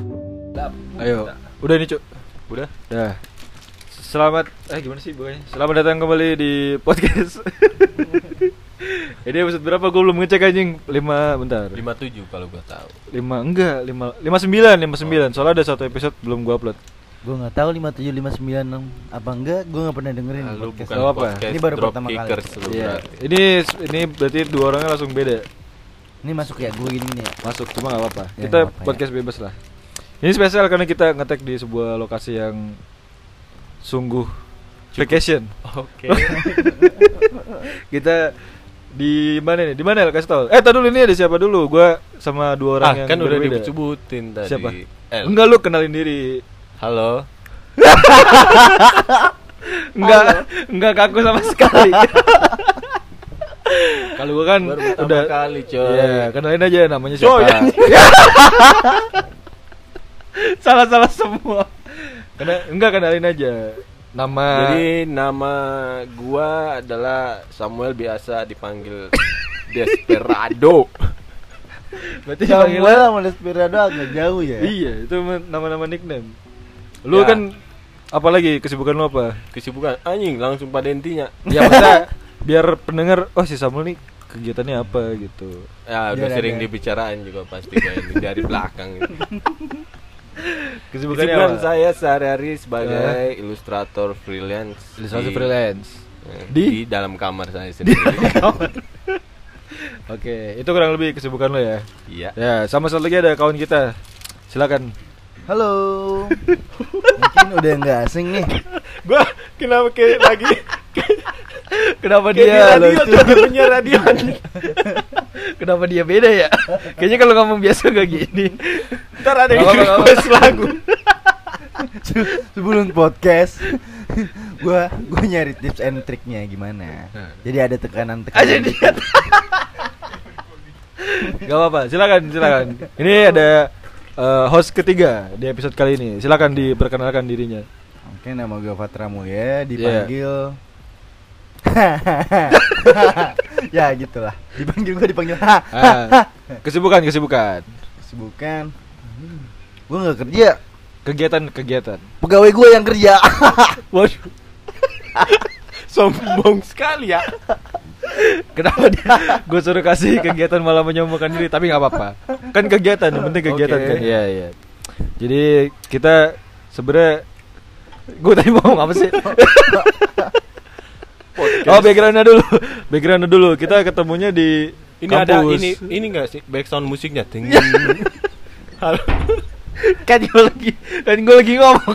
mantap. Ayo. Udah nih, Cuk. Udah. Dah. Selamat eh gimana sih pokoknya? Selamat datang kembali di podcast. Ini episode berapa gue belum ngecek anjing? 5 bentar. 57 kalau gua tahu. 5 enggak, 5 59, 59. Soalnya ada satu episode belum gua upload. Gue nggak tahu 5759 apa enggak, gue nggak pernah dengerin Ah, Lalu podcast. bukan Gak apa-apa. podcast Ini baru drop pertama kali. kickers lu Iya. berarti. Ini ini berarti dua orangnya langsung beda. Ini masuk ya gue gini nih. Masuk cuma nggak apa-apa. Ya, kita nggak apa-apa, podcast bebas lah. Ini spesial karena kita ngetek di sebuah lokasi yang sungguh vacation. Oke. kita di mana nih? Di mana ya? Kasih tahu. Eh, tadi dulu ini ada siapa dulu? Gua sama dua orang Ah, yang kan udah berbeda. disebutin tadi. Eh, Siapa? El. Enggak lu kenalin diri. Halo. Enggak, enggak kaku sama sekali. Kalau gua kan Baru pertama udah kali, coy. Iya, kenalin aja namanya Coy, ya. Iya. siapa. Salah-salah semua. Kena, enggak kenalin aja. Nama Jadi nama gua adalah Samuel biasa dipanggil Desperado. berarti Samuel panggilan sama Desperado agak jauh ya. Iya, itu men- nama-nama nickname. Lu Ya. kan apalagi kesibukan lu apa? Kesibukan anjing langsung pada intinya. Ya maksudnya biar pendengar oh si Samuel nih kegiatannya apa gitu. Ya udah Biar sering ada. dibicarain juga pasti gua ini dari belakang. Kesibukannya Kesibukan apa? saya sehari-hari sebagai ilustrator freelance. Ilustrasi di- freelance. eh, Di? Di? dalam kamar saya sendiri. Oke, itu kurang lebih kesibukan lo ya. Iya. Ya, sama satu lagi ada kawan kita. Silakan. Halo. Mungkin udah nggak asing nih. Gua kenapa kayak lagi Kenapa kayak di dia radio tuh punya radio. Kenapa dia beda ya? Kayaknya kalau ngomong biasa gak gini. Ntar ada yang Gak apa-apa, request lagu. Se- Sebelum podcast, gue gue nyari tips and triknya gimana. Jadi ada Nah. Aja tekanan-tekanan. dia. Gak apa-apa, silakan, silakan. Ini ada eh, host ketiga di episode kali ini. Silakan diperkenalkan dirinya. Oke, nama gue Fatra Iya. Mulya, dipanggil ya gitulah dipanggil gue dipanggil Ah, kesibukan, kesibukan. Kesibukan Gue gak kerja Kegiatan, kegiatan. Pegawai gue yang kerja Waduh, Sombong sekali ya. Kenapa dia? Gue suruh kasih kegiatan malah menyombongkan diri, tapi nggak apa-apa. Kan kegiatan, yang penting kegiatan Oke. kan. Iya iya. Jadi kita sebenernya gue tadi mau ngomong apa sih? oh backgroundnya dulu, backgroundnya dulu. Kita ketemunya di Ini kampus. ada ini ini enggak sih background musiknya ting. Iya. Halo. kan gue lagi kan gue lagi ngomong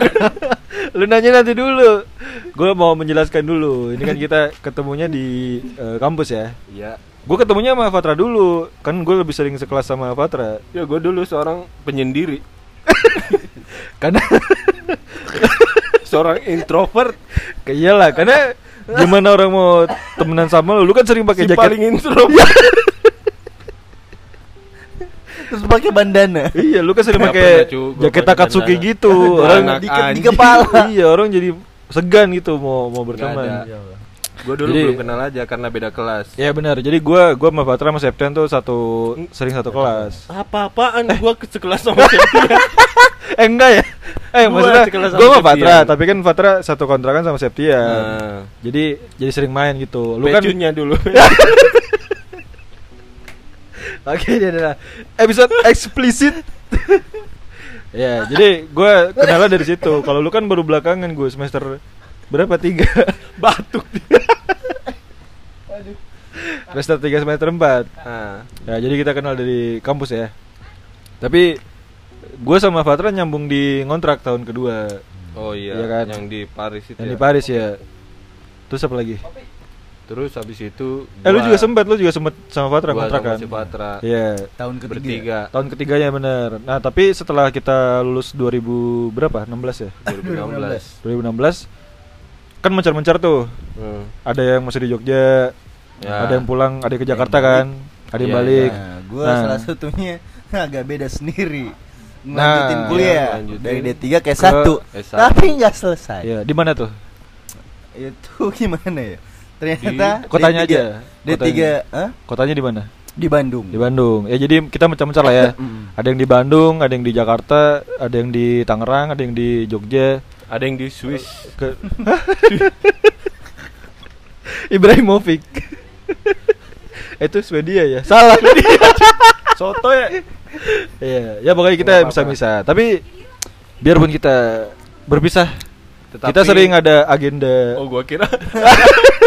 lu nanya nanti dulu gue mau menjelaskan dulu ini kan kita ketemunya di eh, kampus ya Iya. gue ketemunya sama Fatra dulu kan gue lebih sering sekelas sama Fatra Ya gue dulu seorang penyendiri, karena seorang introvert, iyalah karena gimana orang mau temenan sama lu lu kan sering pakai si jaket Iya. paling introvert. Terus pakai bandana iya lu kan sering Nggak pakai pernah, Cu. Gua jaket pakai takatsuki bandana. gitu Anak di, orang ke- di anjing. kepala iya orang jadi segan gitu mau mau Nggak berteman ada. Gue dulu Jadi- belum kenal aja karena beda kelas. Iya benar. Jadi gua gua sama Fatra sama Septian tuh satu sering satu kelas. Apa-apaan gue ke sekelas sama Septian. Eh enggak ya? Eh Gua maksudnya sekelas sama gua sama Septian. Fatra, tapi kan Fatra satu kontrakan sama Septian. Nah. Jadi jadi sering main gitu. Lu Lu kan dulu. Oke, ini adalah episode eksplisit. ya, jadi gua kenalnya dari situ. Kalau lu kan baru belakangan gue semester berapa tiga Batuk. semester tiga semester empat Nah, ya jadi kita kenal dari kampus ya tapi gue sama Fatra nyambung di ngontrak tahun kedua Oh iya, Iya kan? yang di Paris itu. yang di ya. Paris ya terus apa lagi Terus habis itu eh lu gua- juga sempat lu juga sempat sama Fatra gua ngontrak sama kan si Patra. Iya. Tahun ketiga Bertiga. tahun ketiganya bener nah tapi setelah kita lulus 2000 berapa 16 ya 2016. 2016 kan mencar-mencar tuh Hmm. ada yang masih di Jogja Ya. ada yang pulang ada yang ke Jakarta kan ada yang Iya, balik Nah, Gue Nah. salah satunya agak beda sendiri Ngelanjutin Nah, kuliah iya, lanjutin. Dari D3 ke Ke S1 S1. Tapi gak selesai Iya, di mana tuh Itu gimana ya Ternyata Kotanya D3 aja, D3 kotanya. Hah? kotanya di mana eh? di Bandung. di Bandung ya jadi kita mencar-mencar lah ya Mm. ada yang di Bandung ada yang di Jakarta ada yang di Tangerang ada yang di Jogja Ada yang di Swiss. ke Ibrahimovic itu Swedia ya salah Soto ya. Iya, ya pokoknya kita Nggak apa-apa. bisa bisa. Tapi biarpun kita berpisah, Tetapi- kita sering ada agenda. Oh, gua kira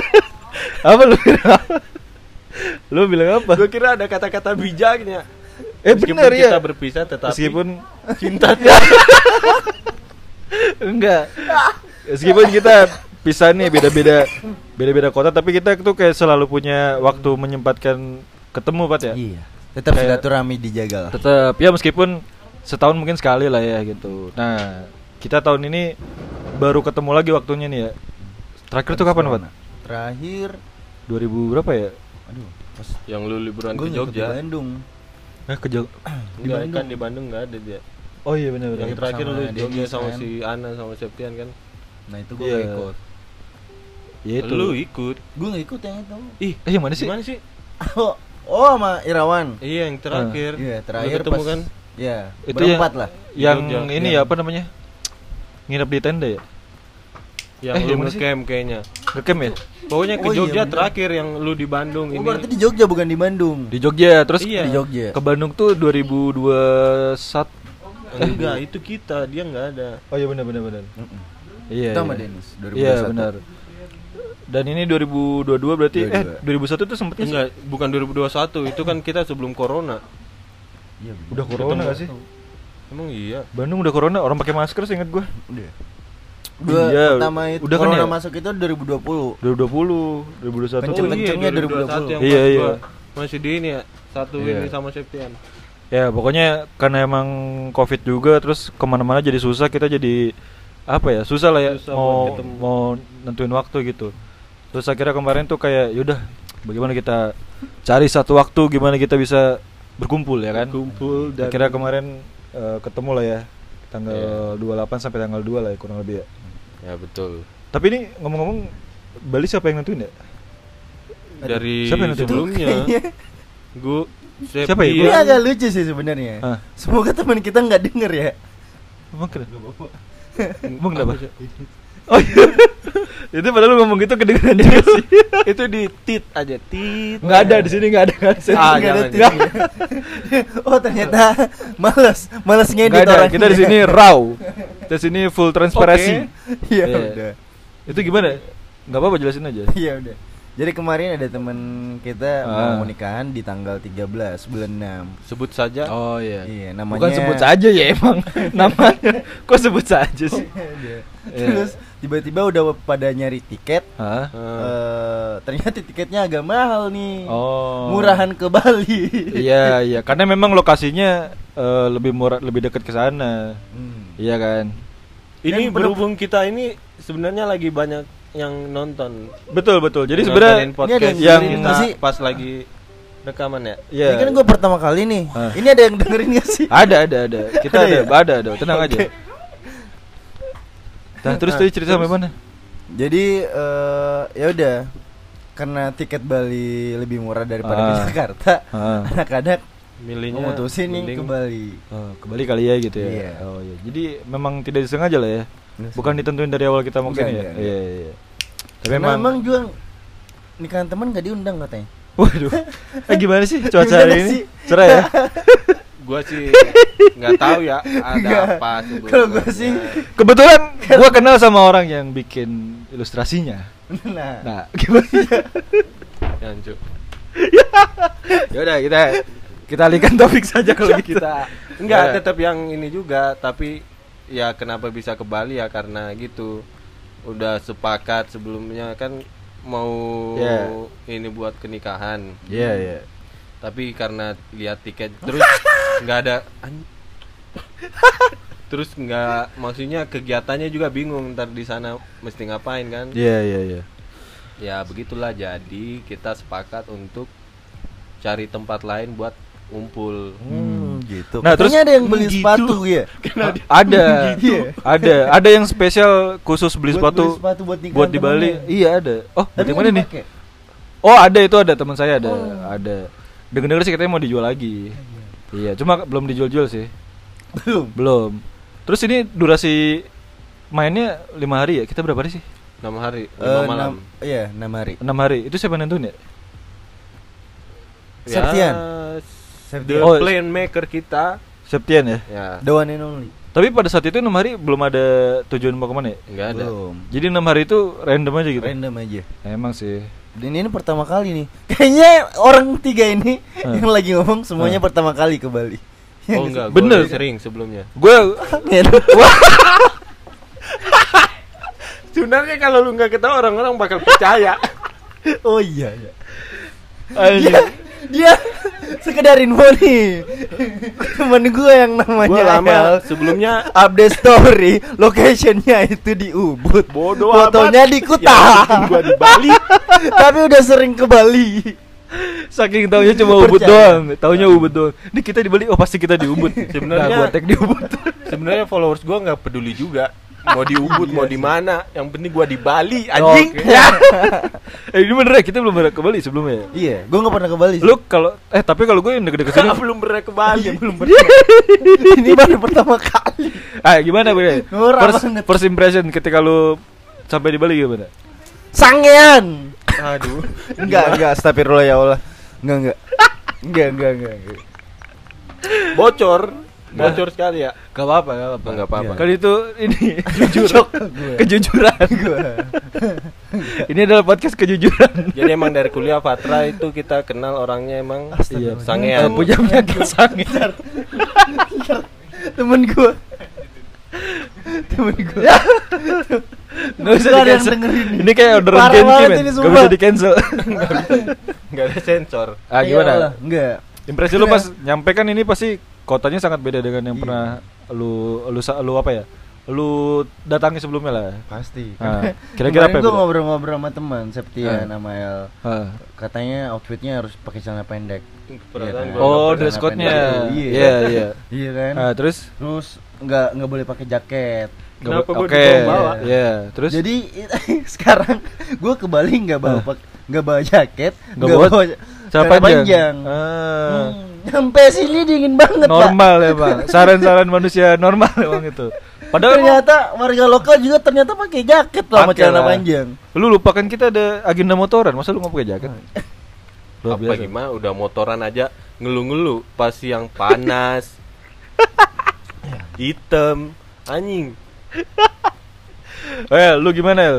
Apa lu? bilang apa? lu bilang apa? gua kira ada kata-kata bijaknya. Eh Meskipun bener ya. kita berpisah tetapi Meskipun cinta enggak. Meskipun kita pisah nih beda-beda beda-beda kota tapi kita tuh kayak selalu punya waktu menyempatkan ketemu Pat ya. Iya. Tetap Kayak- silaturahmi dijaga lah. Tetap ya meskipun setahun mungkin sekali lah ya gitu. Nah, kita tahun ini baru ketemu lagi waktunya nih ya. Terakhir tuh kapan, Pat? Terakhir 2000 berapa ya? aduh, pas yang lu liburan gue ke ngikut di Jogja. Bandung. Eh ke Jog- Enggak, kan di Bandung enggak ada dia. Oh iya benar Yang benar. Iya, terakhir sama lu Dennis Jogja sama kan. si Ana sama Septian kan. Nah, itu gue Iya. ikut. Ya itu. Lu ikut. Gue nggak ikut yang itu. Ih, Eh yang mana sih? gimana sih? Oh, oh sama Irawan. Iya, yang terakhir. Iya, Lu terakhir ketemu pas- kan. Iya, Itu yang- berempat lah. Yang Jogja. ini Iya. ya apa namanya? Nginep di tenda ya? Yang Eh, lu yang mana sih? ngecamp kayaknya. Ngecamp ya? Pokoknya ke Oh, iya, Jogja bener. terakhir yang lu di Bandung Oh, ini. berarti di Jogja bukan di Bandung. Di Jogja terus Iya. Di Jogja. ke Bandung tuh 2021. Enggak, itu kita, dia enggak ada. Oh iya benar benar benar. Mm-mm. Iya. Itu sama iya. Dennis, Iya 2021. benar. Dan ini 2022 berarti eh 2001 tuh sempet Enggak, bukan 2021, itu kan kita sebelum corona. Iya, udah corona gak sih? Emang iya. Bandung udah corona, orang pakai masker seingat gua. udah. Dua Iya, pertama itu udah kan corona ya? masuk itu 2020. 2020, 2021. Kenceng- Oh, iya. kencengnya 2021 yang Iya, pas iya. gua Masih di ini ya, satu Iya. ini sama Septian. Ya pokoknya karena emang covid juga terus kemana-mana jadi susah kita jadi apa ya susah lah ya Susah buat mau ketemu. mau nentuin waktu gitu. Terus akhirnya kemarin tuh kayak yaudah bagaimana kita cari satu waktu gimana kita bisa berkumpul ya kan. Kumpul dan Iya. Akhirnya kemarin eh, ketemu lah ya tanggal 28 sampai tanggal 2 lah ya kurang lebih ya. Ya betul. Tapi ini ngomong-ngomong Bali siapa yang nentuin ya? Dari Siapa yang nanti sebelumnya gua Septian. Siapa ya? Iya. Ini agak lucu sih sebenarnya. Hah. Semoga teman kita nggak denger ya. Ah, Emang kenapa? Emang kenapa? Oh iya. Itu padahal lu ngomong gitu kedengeran Iya juga sih. itu di tit aja, tit. Enggak ada di sini enggak ada kan. Ah, Nggak ada jangan, titik. oh, ternyata malas, malas ngedit Nggak ada. orangnya. Kita di sini raw. Kita di sini full transparansi. Iya, Iya. udah. Itu gimana? Enggak apa-apa jelasin aja. Iya, udah. Jadi kemarin ada teman kita Ah. mau nikahan di tanggal 13 bulan 6. Sebut saja. Oh iya. Iya, namanya... namanya- Bukan sebut saja ya emang namanya. Kok sebut saja sih? Iya. Terus tiba-tiba udah pada nyari tiket. Hah? Eh, ternyata tiketnya agak mahal nih. Oh. Murahan ke Bali. Iya, iya. Karena memang lokasinya eh, lebih murah, lebih dekat ke sana. Hmm. Iya kan? Ini Yang belum- berhubung kita ini sebenarnya lagi banyak yang nonton. Betul, betul. Jadi Nontonin sebenarnya podcast Ini ada yang yang dengerin kita nggak sih? pas lagi rekaman ya. Iya. Ini kan gue pertama kali nih. Ah. Ini ada yang dengerin gak sih? Ada ada ada. Kita Ada ada, ya? ada, ada, Tenang aja. Nah, terus tadi cerita sampai mana? Jadi eh ya udah karena tiket Bali lebih murah daripada ke Ah. Jakarta, Ah. anak-anak Milihnya memutusin nih Iya, ke mending- Bali. Oh, ke Bali kali ya gitu ya. Iya. Oh iya. Jadi memang tidak disengaja lah ya. Bukan ditentuin dari awal kita mungkin Bukan, ya. enggak, Iya, enggak. iya. Tapi memang Karena emang juga nikahan teman gak diundang katanya. waduh. Eh gimana sih cuaca hari Gimana ini? sih? Cerah ya. Gua sih nggak tahu ya ada Nggak. apa Kalau gua sebenarnya. sih Kebetulan gua kenal sama orang yang bikin ilustrasinya. nah, Nah, gimana? Ya, Cuk. ya udah kita kita alihkan topik saja kalau gitu. kita. Enggak, tetap yang ini juga, tapi ya kenapa bisa ke Bali ya karena gitu. Udah sepakat sebelumnya kan mau Iya. ini buat kenikahan. Iya, iya. Tapi karena lihat tiket terus nggak ada an- Terus nggak maksudnya kegiatannya juga bingung ntar di sana mesti ngapain kan? Iya, iya, iya. Ya begitulah jadi kita sepakat untuk cari tempat lain buat ngumpul. hmm, gitu. Nah, terus- Katanya ada yang beli Hmm, gitu. sepatu ya. ada Gitu. ada ada yang spesial khusus beli Buat sepatu beli sepatu buat nikahan buat di Bali temennya. iya ada oh buat Tapi Oh. yang nggak mana nih dipakai. oh ada itu ada teman saya ada ada dengar dengar sih katanya mau dijual lagi iya cuma belum dijual-jual sih belum belum terus ini durasi mainnya lima hari ya kita berapa hari sih enam hari lima Eh, malam enam- iya enam hari enam hari itu siapa yang nentuin ya Septian. the Ya. Septian. Oh. plan maker kita Septian ya ya the one and only tapi pada saat itu enam hari belum ada tujuan mau kemana ya nggak ada Oh, belum jadi enam hari itu random aja gitu random aja emang sih dan ini pertama kali nih kayaknya orang tiga ini Hmm. yang lagi ngomong semuanya Hmm. pertama kali ke Bali oh enggak gua Bener. lebih sering sebelumnya gue sebenarnya kalau lu nggak ketawa orang-orang bakal percaya oh iya, iya. Iya. dia dia sekedar info nih temen gue yang namanya gua Ayal. lama sebelumnya update story locationnya itu di Ubud Bodoh fotonya amat. di Ya, Kuta gua di Bali. tapi udah sering ke Bali saking taunya cuma ubud Percaya. doang taunya ubud doang ini kita di Bali oh pasti kita di ubud Sebenarnya- nah, gue tag di ubud sebenarnya followers gua nggak peduli juga mau di Ubud Iya mau di mana yang penting gua di Bali Oh, anjing oke. eh ini bener ya kita belum pernah ke Bali sebelumnya ya iya gue nggak pernah ke Bali sih. lu kalau eh tapi kalau gue yang deket-deket sini belum pernah ke Bali Iya, belum ini baru pertama kali ah gimana gue Murah first, banget. first impression ketika lu sampai di Bali gimana sangean aduh enggak enggak astagfirullah ya Allah enggak enggak enggak enggak enggak, enggak. bocor bocor sekali ya Gak apa-apa, gak apa-apa. Nggak apa-apa. Iya. Kali Kan itu ini jujur. Shock gua. Kejujuran. Gua. ini adalah podcast kejujuran. jadi emang dari kuliah Fatra itu kita kenal orangnya emang Iya, Astaga. Eh, sangean punya penyakit sange. temen gue temen gue Ya. Nggak bisa di Nggak ada yang cancel. dengerin. Ini kayak orderan Parah Genki, banget men. ini, Gak sumpah. bisa di cancel. nggak ada sensor ah, gimana? enggak Impresi lu pas nyampe kan ini pasti kotanya sangat beda dengan yang Iya. pernah lu lu sa- lu apa ya? Lu datangi sebelumnya lah. pasti Ah, kira-kira apa ya gue beda? ngobrol-ngobrol sama teman Septian Ah. sama El Ah. katanya outfitnya harus pakai celana pendek Perasaan gua Iya kan? Oh, nggak dress pernah code-nya. pendek. Iya. Iya, iya. iya kan Ah, terus terus nggak nggak boleh pakai jaket Nggak Kenapa bo- gua Oke, dibawa-bawa? iya. Terus jadi sekarang gue ke Bali nggak bawa Ah. pak- nggak bawa jaket Nggak bawa celana panjang. Ah. Hmm, sampai sini dingin banget Pak. normal ya bang saran-saran manusia normal emang itu padahal emang- ternyata warga lokal juga ternyata pakai jaket loh sama Pakai celana lah. panjang Ah. lu lupakan kita ada agenda motoran masa lu nggak pakai jaket Luar apa biasa. gimana udah motoran aja ngeluh-ngeluh pas yang panas hitam anjing eh lu gimana El?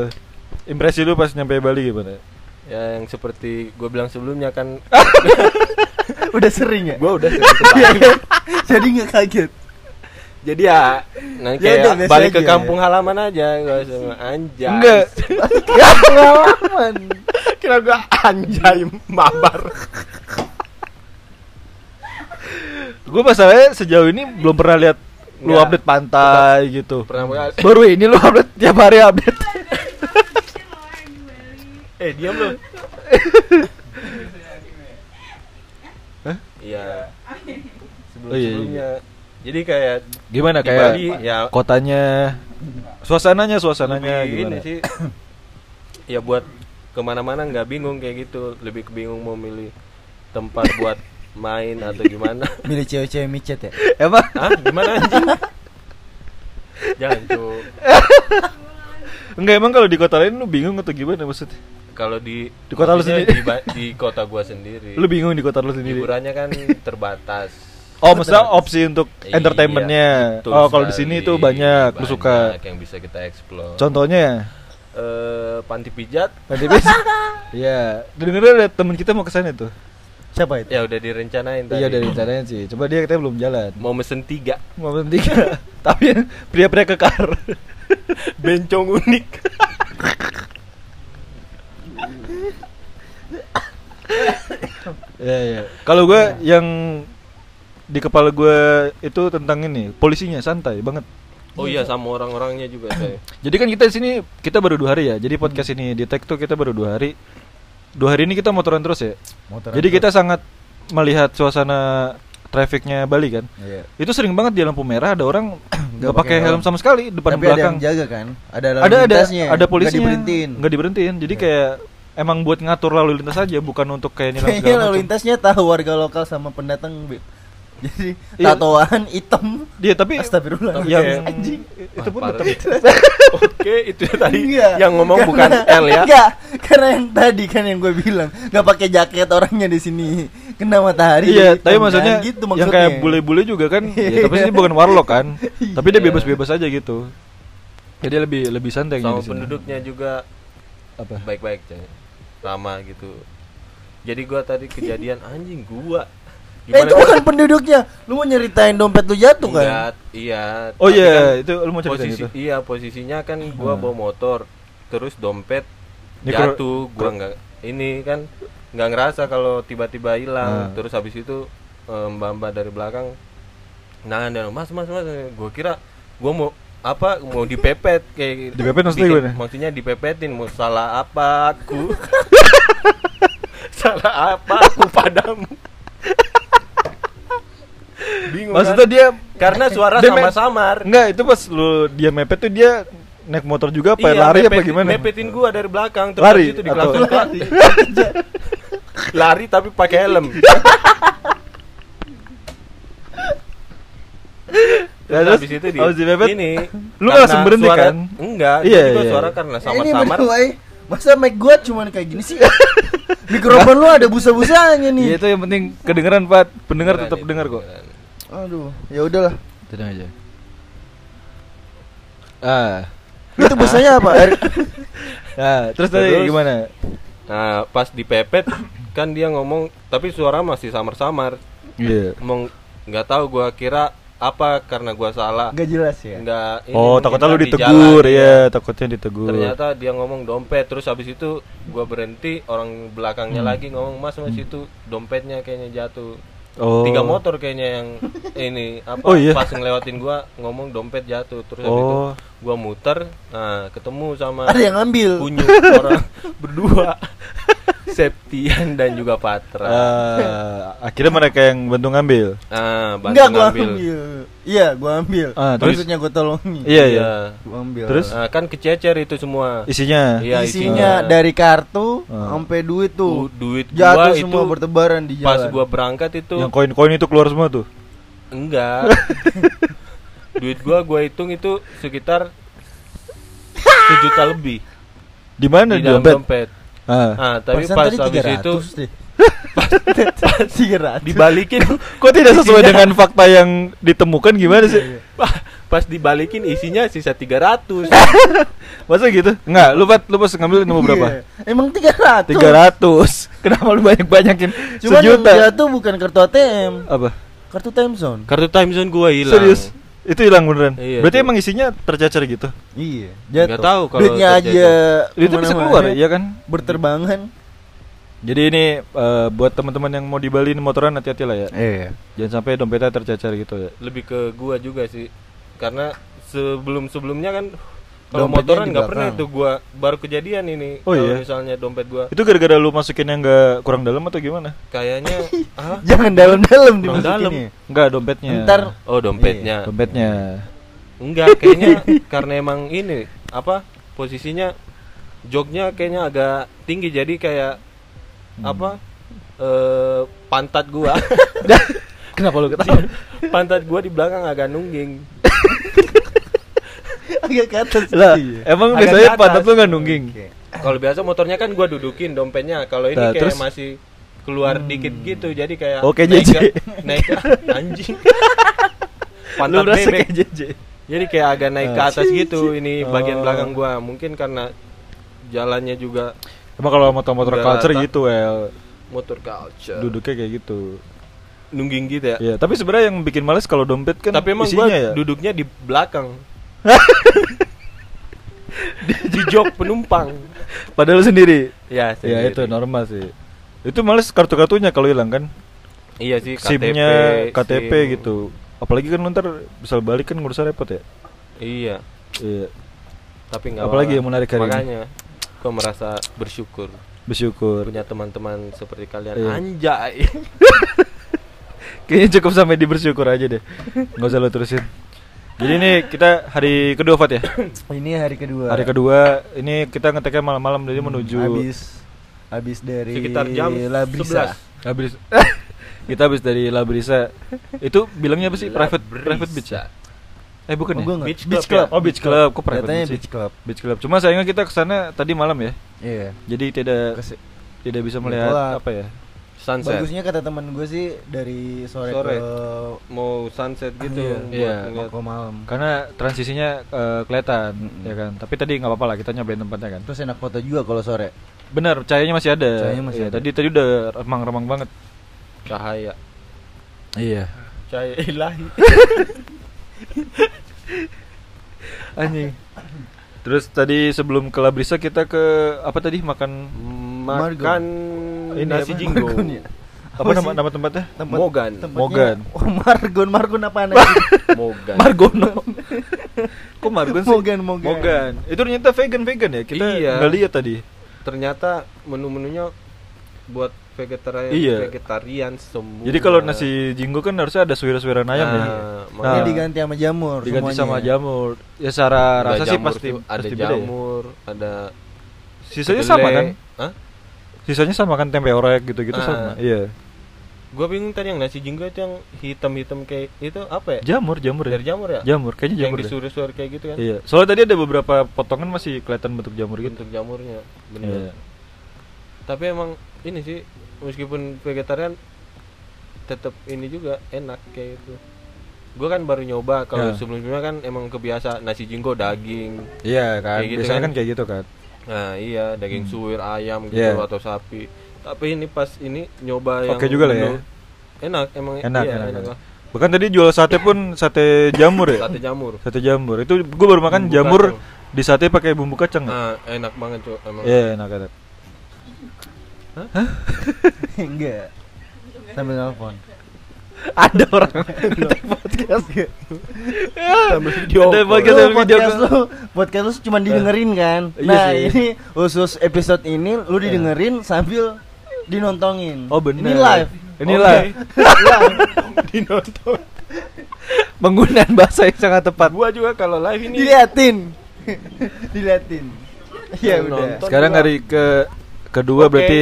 impresi lu pas nyampe Bali gimana ya yang seperti gue bilang sebelumnya kan udah sering ya gue udah sering ke Bali. Iya. jadi nggak kaget jadi ya nanti Ya udah, kayak biasa balik ke aja. kampung halaman aja gue sama anjay enggak pengalaman kira gue anjay mabar gue masalahnya sejauh ini belum pernah lihat lu Nggak. update pantai gitu pernah gua- baru ini lu update tiap hari update eh diam lu iya sebelum Oh, iya, iya. sebelumnya jadi kayak gimana Di kayak Bali, ya. kotanya suasananya suasananya lebih gimana ini sih ya buat kemana-mana nggak bingung kayak gitu lebih bingung mau milih tempat buat main atau gimana milih cewek-cewek micet ya emang Hah? Gimana anjing? Jangan tuh. enggak emang kalau di kota lain lu bingung atau gimana maksudnya Kalau di Di kota lu maksudnya sendiri. Di, ba- di kota gua sendiri. lu bingung di kota lu sendiri Hiburannya kan terbatas. Oh, maksudnya opsi untuk Iya, entertainmentnya. betul Oh, kalau di sekali. sini tuh banyak, lu suka. Banyak yang bisa kita explore. Contohnya, Eh, panti pijat nanti bisa. Iya, dengar ada temen kita mau kesana tuh. siapa itu ya udah direncanain tadi. Iya dari caranya sih. Coba dia katanya belum jalan. mau mesen tiga Mau berhenti tiga. Tapi pria-pria kekar. bencong unik. Iya, iya. Kalau gue yang di kepala gue itu tentang ini polisinya santai banget. Oh iya sama orang-orangnya juga saya. Jadi kan kita di sini kita baru dua hari ya. Jadi podcast ini di tag tuh kita baru dua hari. Dua hari ini kita motoran terus ya. Motoran Jadi terus. kita sangat melihat suasana trafficnya Bali kan. Iya. Itu sering banget di lampu merah ada orang nggak pakai pakai helm helm. sama sekali depan tapi ada belakang. yang jaga kan ada lalu Ada ada lintasnya, ada nggak polisinya. diberhentiin Iya. Nggak diberhentiin. Jadi kayak emang buat ngatur lalu lintas aja bukan untuk kayak nilang Kayaknya segala lalu macam. lintasnya tahu warga lokal sama pendatang Beb. Jadi Iya. tatoan hitam. Dia Iya, tapi Astagfirullah. yang anjing. itu pun Iya. Wah, tetap Ah, Oke, itu tadi Enggak. yang ngomong bukan Karena- L ya. Enggak, karena yang tadi kan yang gue bilang nggak pakai jaket orangnya di sini kena matahari. Iya, jadi tapi hitam. maksudnya, Nah, gitu Iya. yang kayak bule-bule juga kan, ya, tapi ini bukan warlock kan. tapi dia bebas-bebas aja gitu. Jadi lebih lebih santai gitu Sama di sini. penduduknya juga apa? baik-baik coy. Ramah gitu. Jadi gua tadi kejadian anjing gua. Eh, itu bukan penduduknya. Lu mau nyeritain dompet lu jatuh kan? Enggak, iya. Oh Tapi kan iya, itu lu mau ceritain posisi itu. Hmm. iya posisinya kan gua bawa motor terus dompet Ini kru- jatuh gua nggak ini kan nggak ngerasa kalau tiba-tiba hilang Nah. terus habis itu eh, mbak-mbak dari belakang nangan dan mas mas mas gua kira gua mau apa mau dipepet kayak Dipepet maksudnya bikin- gimana? maksudnya dipepetin mau salah apa aku salah apa aku padamu bingung Maksudnya kan? dia karena suara dia sama main- samar enggak itu pas lu dia mepet tuh dia naik motor juga apa ya, Iya, lari apa mepet- gimana? Mepetin gua dari belakang terus Lari habis itu atau- diklakson lari. lari tapi pakai helm. Ya, Terus terus habis itu di habis dipepet, ini. Lu karena langsung berhenti suara- kan? Enggak, Iya, jadi gua iya. suara karena Eh, ini samar-samar. berdua, eh. Masa mic gua cuman kayak gini sih? Mikrofon lu ada busa-busanya Iya nih. itu yang penting kedengeran Pak. Pendengar Beneran tetap itu, dengar kok. beneran. Aduh, ya udahlah. Tenang aja. Ah. Itu busanya apa? Air- Nah, terus tadi Ah, Terus- gimana? Nah, pas dipepet kan dia ngomong tapi suara masih samar-samar. Iya. Ngomong nggak tahu gua kira apa karena gua salah. Enggak jelas ya. Enggak ini Oh, mungkin takutnya lu kan di ditegur jalan, iya. ya, takutnya ditegur. ternyata dia ngomong dompet terus habis itu gua berhenti orang belakangnya Hmm. lagi ngomong mas mas itu dompetnya kayaknya jatuh Oh. tiga motor kayaknya yang ini apa Oh, iya. pas ngelewatin gua ngomong dompet jatuh terus habis itu Oh. gua muter nah ketemu sama Ada yang ngambil. punya orang berdua Septian dan juga Patra Eh, akhirnya mereka yang bantu ngambil. nah bantu Enggak gua ngambil. ambil. Iya, gua ambil. Ah, terus? Maksudnya gua Hmm. tolongin. Iya, iya. Gua ambil. Terus? Nah, kan kececer itu semua Isinya. Iya, isinya isinya. dari kartu Ah. sampai duit tuh. Du- duit jatuh gua semua itu bertebaran di jalan. pas gua berangkat itu Yang koin-koin itu keluar semua tuh. Enggak. Duit gua gua hitung itu sekitar 7 juta lebih Di mana di dalam dompet? dompet. Ah. Nah, tapi Persen pas tadi habis 300 itu deh. tiga ratus. dibalikin Kok tidak sesuai Iya. dengan fakta yang ditemukan gimana sih? pas dibalikin isinya sisa 300. Masa gitu? Enggak, lu pat, lu pas ngambil nemu berapa? Iya. Iya. Emang tiga ratus. 300. Kenapa lu banyak-banyakin? Cuman yang Sejuta. jatuh bukan kartu ATM, Apa? kartu time zone. Kartu time zone gua hilang. Serius? Itu hilang beneran. Iya, Berarti itu. emang isinya tercecer gitu. Iya, jatuh. Nggak tahu kalau duitnya terjadi. aja. Itu bisa kemana-mana. keluar iya ya kan? Berterbangan. Jadi ini eh, buat teman-teman yang mau dibalikin motoran hati-hati lah ya. Iya. Jangan sampai dompetnya tercecer gitu ya. Lebih ke gua juga sih. Karena sebelum-sebelumnya kan kalau Dompetnya motoran di nggak pernah belakang. itu gua baru kejadian ini. Oh, Kalau iya? misalnya dompet gua Itu gara-gara lu masukin yang enggak kurang dalam atau gimana? kayaknya ah, Jangan dalam-dalam Kurang dalam. dimasukin ya. Enggak, dompetnya. Ntar oh dompetnya. Iya, dompetnya. Enggak, kayaknya karena emang ini apa posisinya joknya kayaknya agak tinggi jadi kayak Hmm. apa eh pantat gua Kenapa lu ketawa? pantat gua di belakang agak nungging agak ke atas. lah, Iya. emang Agak biasanya ke atas. pantat lu enggak nungging. Oke. kalau biasa motornya kan gua dudukin dompetnya kalau ini Nah, kayak terus? Hmm. Oh, masih keluar dikit gitu jadi kayak Oke, naik JJ. ke- naik ke- anjing Lu pantat merasa bebek kayak JJ. Jadi kayak agak naik ke Ah. atas gitu ini bagian Oh. belakang gua. Mungkin karena jalannya juga Emang kalau motor-motor Enggak, culture tak- gitu, well, motor culture. duduknya kayak gitu. Nungging gitu ya. Ya, tapi sebenarnya yang bikin males kalau dompet kan Tapi emang isinya gua ya. duduknya di belakang. di, di jok penumpang. Padahal sendiri. Ya, Ya sendiri. itu normal sih. Itu males kartu-kartunya kalau hilang kan. Iya sih SIM-nya, KTP, KTP SIM. gitu. Apalagi kan lu ntar bisa balik kan ngurusnya repot ya. Iya, Iya. tapi enggak Apalagi yang menarik hari ini? Makanya gua merasa bersyukur Bersyukur. punya teman-teman seperti kalian. Iya. Anjay. Kayaknya cukup sampai di bersyukur aja deh. Nggak usah lo terusin. Jadi ini kita hari kedua Fat ya. Ini hari kedua. Hari kedua ini kita ngeteknya malam-malam jadi menuju Habis habis dari sekitar jam Labrisa. 11 Habis kita habis dari Labrisa. Itu bilangnya apa sih? Private private beach ya? Eh bukan ya? Oh, gua nggak- Beach Beach club club. ya? Oh, beach club. Kok private Katanya beach? beach sih? club. Beach club. Cuma sayangnya kita kesana tadi malam ya. Iya. Jadi tidak Kesi- tidak bisa Betul melihat lah. apa ya? sunset Bagusnya kata teman gue sih dari sore, Sore. ke mau sunset gitu Iya. buat Iya. ngeliat. ke malam. Karena transisinya eh, kelihatan Mm-mm. ya kan. Tapi tadi nggak apa-apa lah kita nyobain tempatnya kan. Terus enak foto juga kalau sore. Benar, cahayanya masih ada. Cahayanya masih Iya, ada. Tadi tadi udah remang-remang banget. cahaya Iya. cahaya ilahi Anjing. Terus tadi sebelum ke Labrisa kita ke apa tadi makan makan Ini nasi apa? jinggo Margon ya? apa, nama nama tempatnya? Tempat- Mogan. tempatnya- Mogan. Oh, Margon, Margon apaan anjing? mogan Margono. Kok Margon sih? Mogan, Mogan. Mogan. Itu ternyata vegan vegan ya? Kita Iya. nggak lihat tadi. ternyata menu-menunya buat vegetarian Iya. vegetarian semua Jadi kalau nasi jinggo kan harusnya ada suwir-suwiran ayam ya. Nah, Ini makanya diganti sama jamur diganti semuanya. sama jamur. Ya secara Nggak rasa sih jamur pasti tuh, ada pasti beda ya. jamur ada Sisanya kedelai. sama kan? Hah? Sisanya sama kan tempe orek gitu-gitu Ah. sama. Iya. Gua bingung tadi yang nasi jinggo itu yang hitam-hitam kayak itu apa ya? Jamur, jamur ya. Dari jamur ya? Jamur, kayaknya jamur. Yang deh. disuruh-suruh kayak gitu kan? Iya. Soalnya tadi ada beberapa potongan masih kelihatan bentuk jamur gitu. Bentuk jamurnya. Iya. Bener. Tapi emang ini sih meskipun vegetarian tetap ini juga enak kayak itu. Gua kan baru nyoba kalau Ya. sebelumnya kan emang kebiasa nasi jinggo daging. Iya kan. Kayak gitu Biasanya kan. kan kayak gitu kan. Nah, iya daging suwir ayam gitu Hmm. Iya. atau sapi. Tapi ini pas ini nyoba yang Oke juga lah ya. menu- Enak emang Enak, iya, enak, enak. lah. Bahkan tadi jual sate pun sate jamur ya. Sate jamur. Sate jamur. Itu gue baru makan Bumbu jamur kacang. di sate pakai bumbu kacang. ya? Nah, enak banget cuy emang. Iya, enak enak. Enggak. Sambil nelpon. Ada orang. podcast gak? Sambil video Ada call. podcast Lu sambil video call. podcast Eh. lu, podcast lu cuma didengerin kan? Iya Nah, sih. Eh. ini khusus episode ini lu didengerin sambil dinontongin. Oh, bener. Ini live. Ini Oke. live. Iya. Live. dinonton. Penggunaan bahasa yang sangat tepat. Gua juga kalau live ini Iya. Diliatin. Diliatin. Yang Ya udah. nonton. Sekarang Tonton hari ke kedua Oke. berarti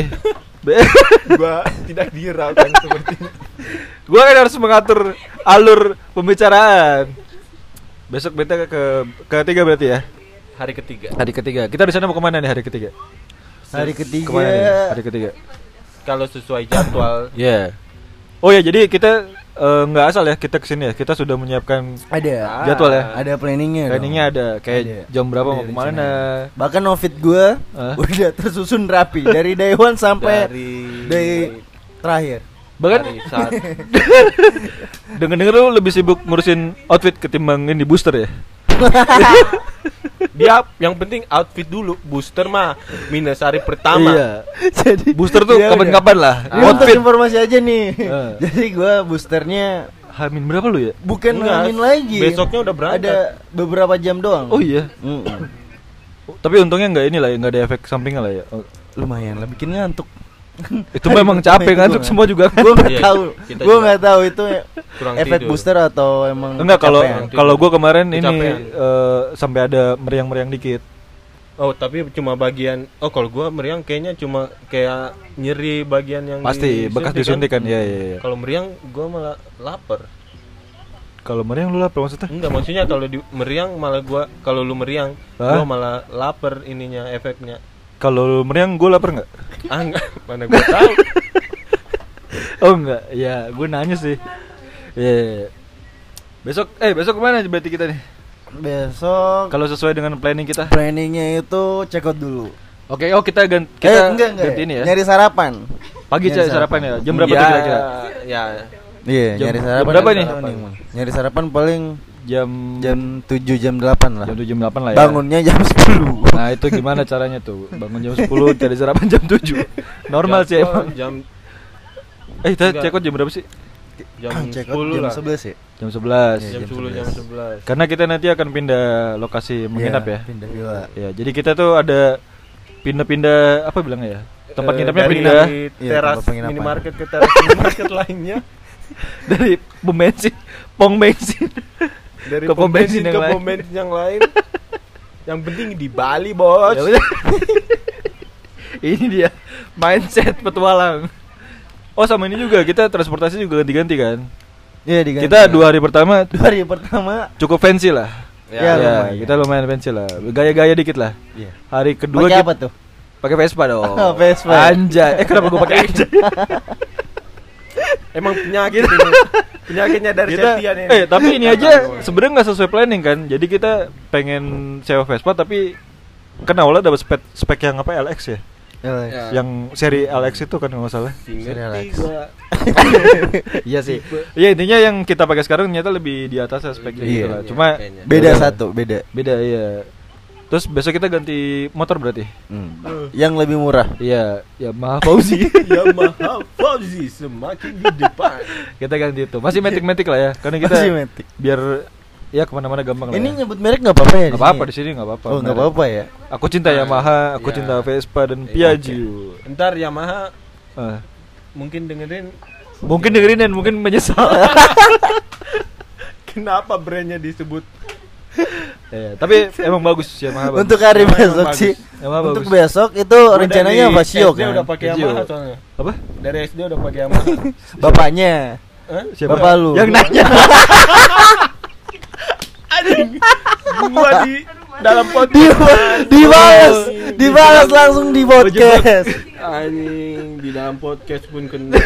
gua tidak dihiraukan seperti itu. gua kan harus mengatur alur pembicaraan. Besok beta ke, ke ketiga berarti ya. Hari ketiga. Hari ketiga. Kita di sana mau kemana nih hari ketiga? Hari ketiga. Kemana nih hari ketiga? Kalau sesuai jadwal Ya. Oh ya, jadi kita eh, nggak asal ya kita kesini ya. Kita sudah menyiapkan Ada. jadwal ya. Ada planningnya. Iya dong. Iya. Planningnya ada kayak Ada. jam berapa Ada mau rencana. kemana? Bahkan novit gue Hah? udah tersusun rapi dari day one sampai dari day terakhir. Bahkan dari saat denger denger lu lebih sibuk ngurusin outfit ketimbang ini booster ya. dia yang penting outfit dulu booster mah minus hari pertama Iya. Jadi Booster tuh ya udah. kapan-kapan lah. Ini untuk Ah. Outfit. informasi aja nih. Eh. Jadi gue boosternya Hamin berapa lu ya? bukan Enggak, ngamin lagi. besoknya udah berangkat. Ada beberapa jam doang. Oh iya. Mm-mm. Oh, Tapi untungnya nggak inilah ya, nggak ada efek sampingnya lah ya. Oh, Lumayan lah bikin ngantuk. Iya, Itu memang capek ngantuk semua juga. Gue Iya, nggak tahu. kita Gue juga. nggak tahu itu Kurang efek tidur. booster atau emang Enggak kalau kecapean. kalau gua kemarin ini Kecapean. eh, sampai ada meriang-meriang dikit. oh tapi cuma bagian oh kalau gua meriang kayaknya cuma kayak nyeri bagian yang Pasti bekas disuntik kan. Iya iya iya. kalau meriang gua malah lapar Kalau meriang lu lapar maksudnya? enggak maksudnya kalau di meriang malah gua kalau lu meriang Hah? gua malah lapar ininya efeknya Kalau lu meriang gua lapar nggak? ah enggak mana gua tahu Oh enggak, ya gue nanya sih. Iya. iya, iya. Besok eh besok kemana berarti kita nih? besok Kalau sesuai dengan planning kita. planningnya itu check out dulu. Oke, oh kita ganti Kita kita Eh, enggak enggak. ganti ini ya. Nyari sarapan. Pagi nyari Iya. cah sarapan ya. sarapan. Jam berapa tuh Ya, kira-kira? ya Iya, Jam- nyari jam sarapan. berapa nyari nih? sarapan. Nyari sarapan paling Jam jam 7 jam 8 lah. jam 7 jam 8 lah ya. Bangunnya jam 10. Nah, itu gimana caranya tuh? Bangun jam 10, cari sarapan jam 7. Normal sih jadwal emang. jam Eh, kita Enggak. check out jam berapa sih? jam Kan Check out 10 jam lah 11 ya. Jam 11. jam 10 jam 11 Karena kita nanti akan pindah lokasi menginap Iya, ya. Pindah villa. Ya, jadi kita tuh ada pindah-pindah apa bilangnya ya? Tempat Eh, nginapnya dari pindah Iya, teras tempat penginapan. minimarket ke teras minimarket lainnya dari pom bensin, pom bensin. dari Ke pom bensin yang ke lain. pom bensin yang lain yang penting di Bali bos Ya udah. Ya Ini dia mindset petualang. Oh sama ini juga kita transportasi juga ganti-ganti kan. Iya diganti. Kita dua hari pertama dua hari pertama. cukup fancy lah. Ya, Ya, lumayan. kita lumayan fancy lah. Gaya-gaya dikit lah. Iya. Hari kedua Pakai kita apa tuh? pakai Vespa dong. Oh, Vespa. Anjay. Eh kenapa gua pakai anjay? Emang penyakit ini. Penyakitnya dari Gitu. kita, Septian ini. eh tapi ini aja sebenarnya nggak sesuai planning kan. Jadi kita pengen sewa Vespa tapi kan awalnya dapat spek, spek yang apa LX ya? Ya. Ya. Yang seri LX itu kan nggak salah. Single Serial X. tiga. Iya sih. Iya intinya yang kita pakai sekarang ternyata lebih di atas aspeknya Iya. gitu lah. Cuma Kayaknya. Beda satu, beda. beda iya. Terus besok kita ganti motor berarti. Hmm. Yang lebih murah. Iya, ya maaf Fauzi. Yamaha Fauzi semakin di depan. kita ganti itu. Masih metik-metik lah ya. Karena kita Masih metik. biar ya kemana-mana gampang lah. Ini ya. nyebut merek nggak apa-apa ya? Nggak apa-apa di sini nggak apa-apa. Oh nggak Benar. apa-apa ya. Aku cinta Yamaha, aku Iya. cinta Vespa dan Iya, Piaggio. Ntar Yamaha Ah. mungkin dengerin Mungkin dengerin dan mungkin menyesal. kenapa brandnya disebut Iya, tapi emang bagus Yamaha. bagus. Untuk hari Emang besok bagus. sih. Emang bagus. Untuk besok itu Gua rencananya dari apa Sio SD udah kan? pakai Sio. Yamaha soalnya. apa? Dari SD udah pakai Yamaha. Bapaknya. Hah? Siapa? Bapak lu. Yang nanya. Gua di dalam Di podcast. dibalas, dibalas langsung di podcast. Anjing, di dalam podcast pun kena.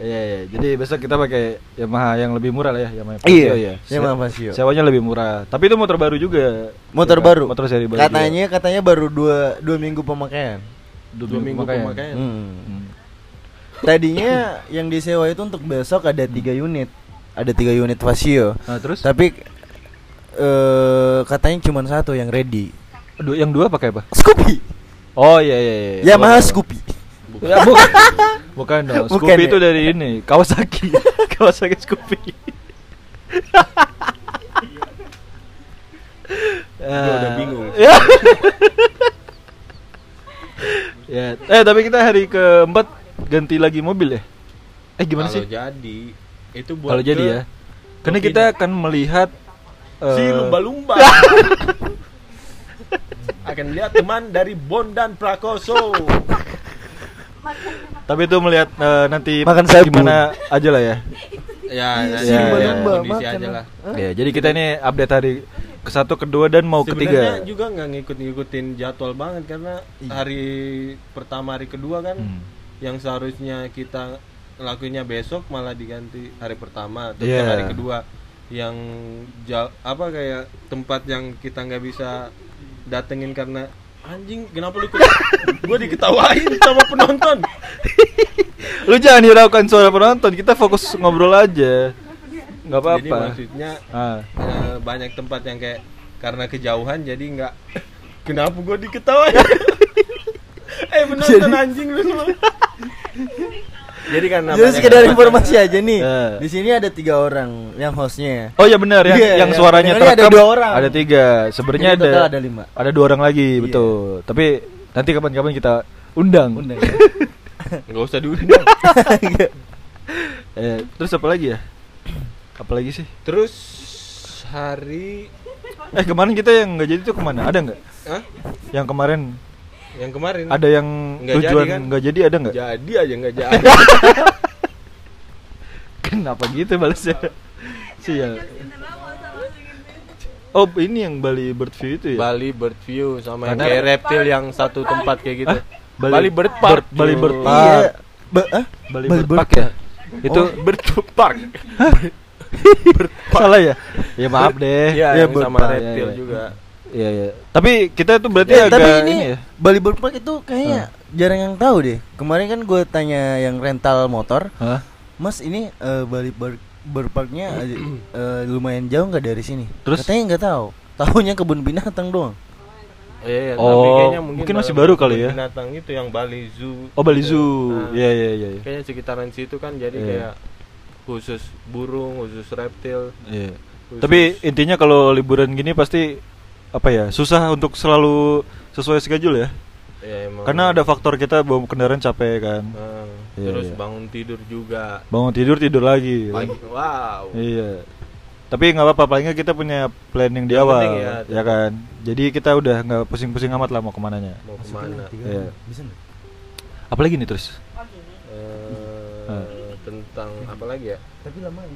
Iya, iya. Jadi besok kita pakai Yamaha yang lebih murah lah ya, Yamaha Iya, Pasio iya. Yamaha Pasio. Sewanya lebih murah. Tapi itu motor baru juga. Motor Ya kan? baru. Motor seri baru. Katanya katanya baru dua dua minggu pemakaian. juga. Dua minggu pemakaian. Hmm. Hmm. Tadinya yang disewa itu untuk besok ada tiga unit, ada tiga unit Vasio. Nah, terus Tapi eh katanya cuma satu yang ready. du- yang dua pakai apa? Scoopy. Oh iya iya iya. Yamaha Dua. Scoopy. Ya, bukan. bukan dong. Bukan Scoopy ya? itu dari ini, Kawasaki. Kawasaki Scoopy. Gua udah bingung. Ya. ya. Eh tapi kita hari keempat ganti lagi mobil ya. Eh gimana Kalau sih? jadi itu buat Kalau jadi ke ya. Karena Mungkin. kita akan melihat Si eh, lumba-lumba. Akan lihat teman dari Bondan Prakoso. Tapi itu melihat eh, nanti Makan sabu. gimana aja lah ya. Ya, ya, Iya, si ya, lumba-lumba, kondisi makan aja lah. Ya, jadi kita ini update hari ke satu, kedua dan mau Sebenarnya Oh, ketiga. Iya. juga nggak ngikut-ngikutin jadwal banget karena hari pertama hari kedua kan Hmm. yang seharusnya kita ngelakuinnya besok malah diganti hari pertama terus Iya. hari kedua yang ja- apa kayak tempat yang kita nggak bisa datengin karena anjing kenapa lu gue diketawain sama penonton Lu jangan hiraukan suara penonton, kita fokus ngobrol aja. Nggak jadi apa-apa. maksudnya Ah. eh, banyak tempat yang kayak karena kejauhan jadi nggak kenapa gue diketawain eh penonton anjing lu semua jadi karena Jadi banyak sekedar tempat- informasi aja nih. Eh. Di sini ada tiga orang yang hostnya. Oh ya benar yang, Iya, yang iya. suaranya Ini ada terekam dua orang. Ada tiga. Sebenarnya Jadi ada total ada lima. Iya. Ada dua orang lagi, betul. Tapi nanti kapan-kapan kita undang. ya? Undang. nggak usah diundang Eh, terus apa lagi ya? Apa lagi sih? terus hari Eh kemarin kita yang nggak jadi tuh kemana? Ada nggak? Hah? Yang kemarin yang kemarin ada yang Nggak jadi tujuan kan? nggak jadi, ada nggak? jadi aja nggak jadi Kenapa gitu balasnya? Sial. Oh ini yang Bali Bird View itu ya? Bali Bird View sama yang Karena- kayak reptil yang satu tempat kayak gitu Hah? Bali, Bird Park Bali Bird Cuy. Park. Iya. Ba ah? Bali, Bali Bird Bird Park ya? Itu Oh, Bird Park salah ya? Ya maaf deh. Iya, yang Bird sama Park, reptil iya, iya. juga Iya iya. Tapi kita tuh berarti Ya, agak tapi ini, ini, ya. Bali Bird Park itu kayaknya jarang yang tahu deh. Kemarin kan gue tanya yang rental motor, Hah? Mas ini eh, Bali Bird, Bird Parknya eh, eh, lumayan jauh nggak dari sini? Terus? Katanya nggak tahu. Tahunya kebun binatang doang. Iya, Oh, mungkin masih baru kali ya. Binatang itu yang Bali Zoo. Oh Bali Zoo. Nah, Iya iya iya. iya. Kayaknya sekitaran situ kan jadi Iya. kayak khusus burung, khusus reptil. Iya. khusus- Tapi intinya kalau liburan gini pasti apa ya susah untuk selalu sesuai schedule ya. ya emang. Karena ada faktor kita bawa kendaraan capek kan. Nah, Iya, terus iya. bangun tidur juga. Bangun tidur tidur lagi. Pagi. Wow. Iya. Tapi nggak apa-apa, palingnya kita punya planning di Yang awal, penting ya. ya, kan. Jadi kita udah nggak pusing-pusing amat lah mau kemananya. Mau kemana? Iya. Bisa nggak? Apalagi nih terus? Ah. Eh, tentang apa lagi ya? Tapi lama ya.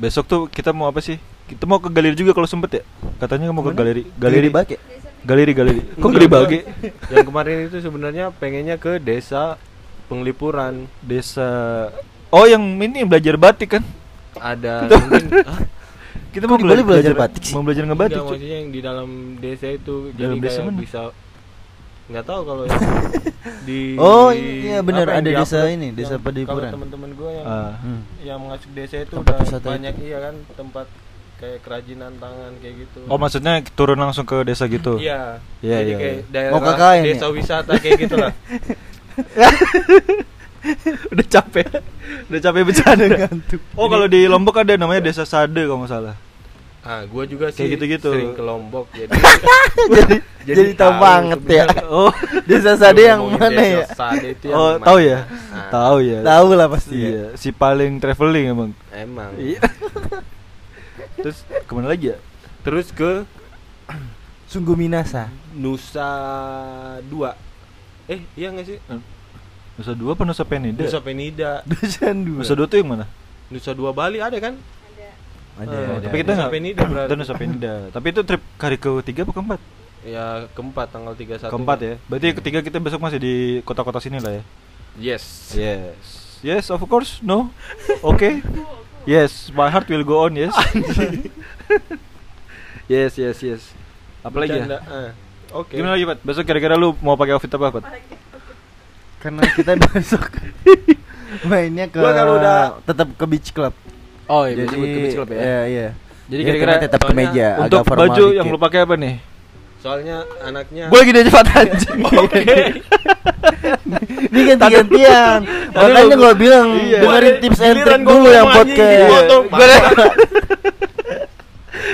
Besok tuh kita mau apa sih? Kita mau ke galeri juga kalau sempet ya. Katanya mau ke Kemana? galeri, Galeri galeri bag ya? Galeri, galeri. Kok Enggak, galeri enggak. bage? Yang kemarin itu sebenarnya pengennya ke desa penglipuran Desa Oh, yang ini belajar batik kan? ada mungkin Hah? Kita Kok di Bali belajar batik sih? Mau belajar ngebatik. Enggak, cuy. maksudnya yang di dalam desa itu Dalam jadi desa kayak mana? bisa nggak tahu kalau di Oh, iya, bener, apa yang ada desa di-upload ini, desa yang- Padipuran. Kalau teman-teman gue yang Ah. Hmm. yang masuk desa itu Tempat udah wisata banyak iya kan tempat kayak kerajinan tangan kayak gitu. Oh, maksudnya turun langsung ke desa gitu. Iya. Iya, Jadi iya, kayak iya. daerah Mau ke KKN ya? desa wisata kayak gitu lah. Udah capek. Udah capek bercanda. Oh, kalau di Lombok ada namanya Desa Sade kalau nggak salah. Ah, gua juga sih Kayak gitu-gitu. sering ke Lombok jadi jadi Jadi jadi, tahu tahu banget ya. sebenarnya. Oh. Desa Sade yang Ngomongin mana desa ya? Sade itu yang Oh, mana? tahu ya? Ah, Tahu ya. Tahu lah pasti. ya. Iya, si paling traveling emang. Emang. Iya. Terus kemana lagi ya? Terus ke Sungguh minasa. Nusa dua Eh, iya nggak sih? Nusa Dua apa Nusa Penida? Nusa Penida. Dosen dua. Nusa Dua tuh yang mana? Nusa Dua Bali ada kan? Ada, Eh, Oh, ada, tapi ada. kita Nusa nggak. Penida berarti. Itu Nusa Penida. Tapi itu trip hari ketiga apa keempat? Ya, keempat tanggal 31. Keempat ya. Berarti ketiga kita besok masih di kota-kota sini lah ya. Yes. Yes. Yes, of course. No. Oke. Yes, my heart will go on, yes. yes, yes, yes. Apa lagi Bercanda, ya? ah. Oke. Gimana lagi, Pat? Besok kira-kira lu mau pakai outfit apa, Pat? Karena kita besok mainnya ke Gua kalau udah- tetap ke beach club. Oh, Iya, iya. Jadi Ya, kira-kira kita tetap ke soalnya meja Untuk agak formal baju dikit. Ya. yang lu pakai apa nih? Soalnya anaknya Gue lagi diajak Pat anjing. Oke. Ini ganti-gantian. Makanya gua bilang Iya. dengerin Gua- tips and giliran trick gua dulu yang ngomong anjing, podcast. dipotong. Gue